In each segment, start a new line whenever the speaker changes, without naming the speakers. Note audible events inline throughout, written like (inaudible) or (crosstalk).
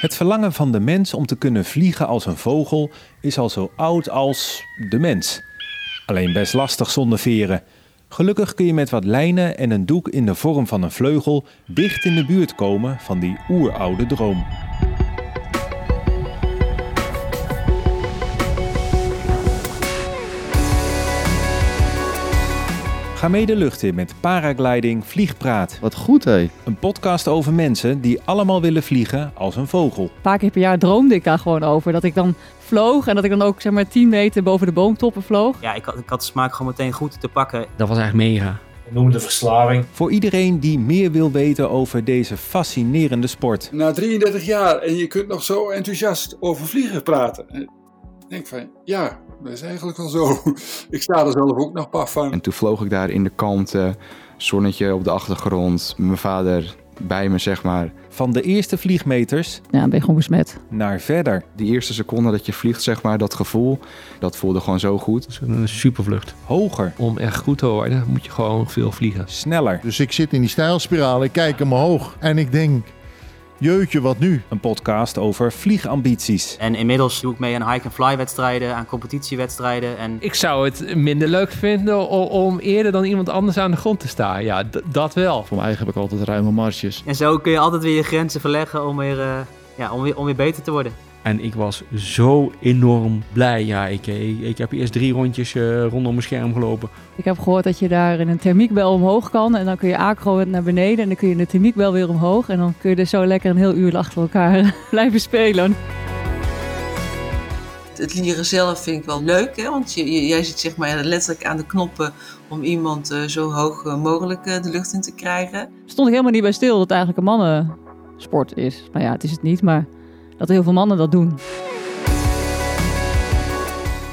Het verlangen van de mens om te kunnen vliegen als een vogel is al zo oud als de mens. Alleen best lastig zonder veren. Gelukkig kun je met wat lijnen en een doek in de vorm van een vleugel dicht in de buurt komen van die oeroude droom. Ga mee de lucht in met paragliding Vliegpraat.
Wat goed, hé.
Een podcast over mensen die allemaal willen vliegen als een vogel.
Een paar keer per jaar droomde ik daar gewoon over. Dat ik dan vloog en dat ik dan ook zeg maar 10 meter boven de boomtoppen vloog.
Ja, ik had, ik had de smaak gewoon meteen goed te pakken.
Dat was echt mega.
Noem de verslaving.
Voor iedereen die meer wil weten over deze fascinerende sport.
Na 33 jaar en je kunt nog zo enthousiast over vliegen praten. Ik denk van, ja, dat is eigenlijk al zo. (laughs) Ik sta er zelf ook nog paf van.
En toen vloog ik daar in de kalmte, zonnetje op de achtergrond, mijn vader bij me, zeg maar.
Van de eerste vliegmeters
Ja, dan ben je gewoon besmet.
naar verder.
Die eerste seconde dat je vliegt, zeg maar, dat gevoel, dat voelde gewoon zo goed. Dus
Dat is een supervlucht.
Hoger,
Om echt goed te worden moet je gewoon veel vliegen.
sneller.
Dus ik zit in die stijlspiraal, ik kijk omhoog en ik denk, jeutje, wat nu?
Een podcast over vliegambities.
En inmiddels doe ik mee aan hike-and-fly wedstrijden, aan competitiewedstrijden. En
Ik zou het minder leuk vinden o- om eerder dan iemand anders aan de grond te staan. Ja, d- dat wel.
Voor mijn eigen heb ik altijd ruime marges.
En zo kun je altijd weer je grenzen verleggen om weer, eh, ja, om weer, om weer beter te worden.
En ik was zo enorm blij. Ja, ik, ik, ik heb eerst drie rondjes eh, rondom mijn scherm gelopen.
Ik heb gehoord dat je daar in een thermiekbel omhoog kan. En dan kun je acro naar beneden en dan kun je in de thermiekbel weer omhoog. En dan kun je er zo lekker een heel uur achter elkaar (laughs) blijven spelen.
Het leren zelf vind ik wel leuk, hè? want je, je- jij zit zeg maar letterlijk aan de knoppen om iemand eh, zo hoog eh, mogelijk eh, de lucht in te krijgen.
Stond ik helemaal niet bij stil dat het eigenlijk een mannensport is. Nou ja, het is het niet, maar dat heel veel mannen dat doen.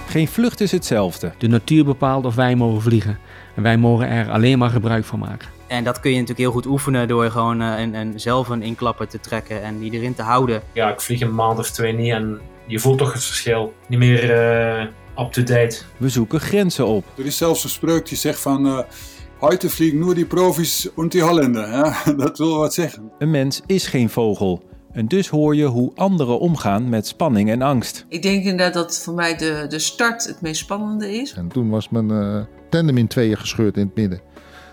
Geen vlucht is hetzelfde.
De natuur bepaalt of wij mogen vliegen. En wij mogen er alleen maar gebruik van maken.
En dat kun je natuurlijk heel goed oefenen door gewoon eh, een, een, zelf een inklapper te trekken en die erin te houden.
Ja, ik vlieg een maand of twee niet en je voelt toch het verschil. Niet meer eh, up-to-date.
We zoeken grenzen op.
Er is zelfs een spreuk die zegt van... eh Heute vliegen nur die Profis und die Holländer. Ja, (laughs) dat wil wat zeggen.
Een mens is geen vogel. En dus hoor je hoe anderen omgaan met spanning en angst.
Ik denk inderdaad dat voor mij de, de start het meest spannende is.
En toen was mijn eh, tandem in tweeën gescheurd in het midden.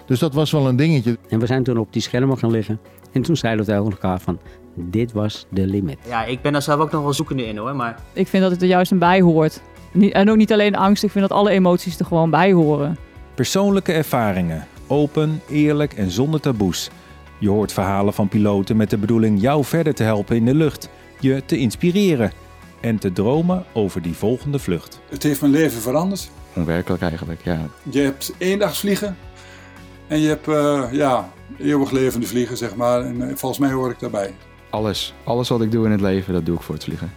Dus dat was wel een dingetje.
En we zijn toen op die schermen gaan liggen. En toen zeiden we tegen elkaar van, dit was de limit.
Ja, ik ben daar zelf ook nog wel zoekende in hoor. Maar
Ik vind dat het er juist een bij hoort. Niet- En ook niet alleen angst, ik vind dat alle emoties er gewoon bij horen.
Persoonlijke ervaringen. Open, eerlijk en zonder taboes. Je hoort verhalen van piloten met de bedoeling jou verder te helpen in de lucht, je te inspireren en te dromen over die volgende vlucht.
Het heeft mijn leven veranderd.
Onwerkelijk eigenlijk, ja.
Je hebt eendags vliegen. En je hebt, eh, ja, eeuwig levende vliegen, zeg maar. En eh, volgens mij hoor ik daarbij.
Alles, alles wat ik doe in het leven, dat doe ik voor het vliegen.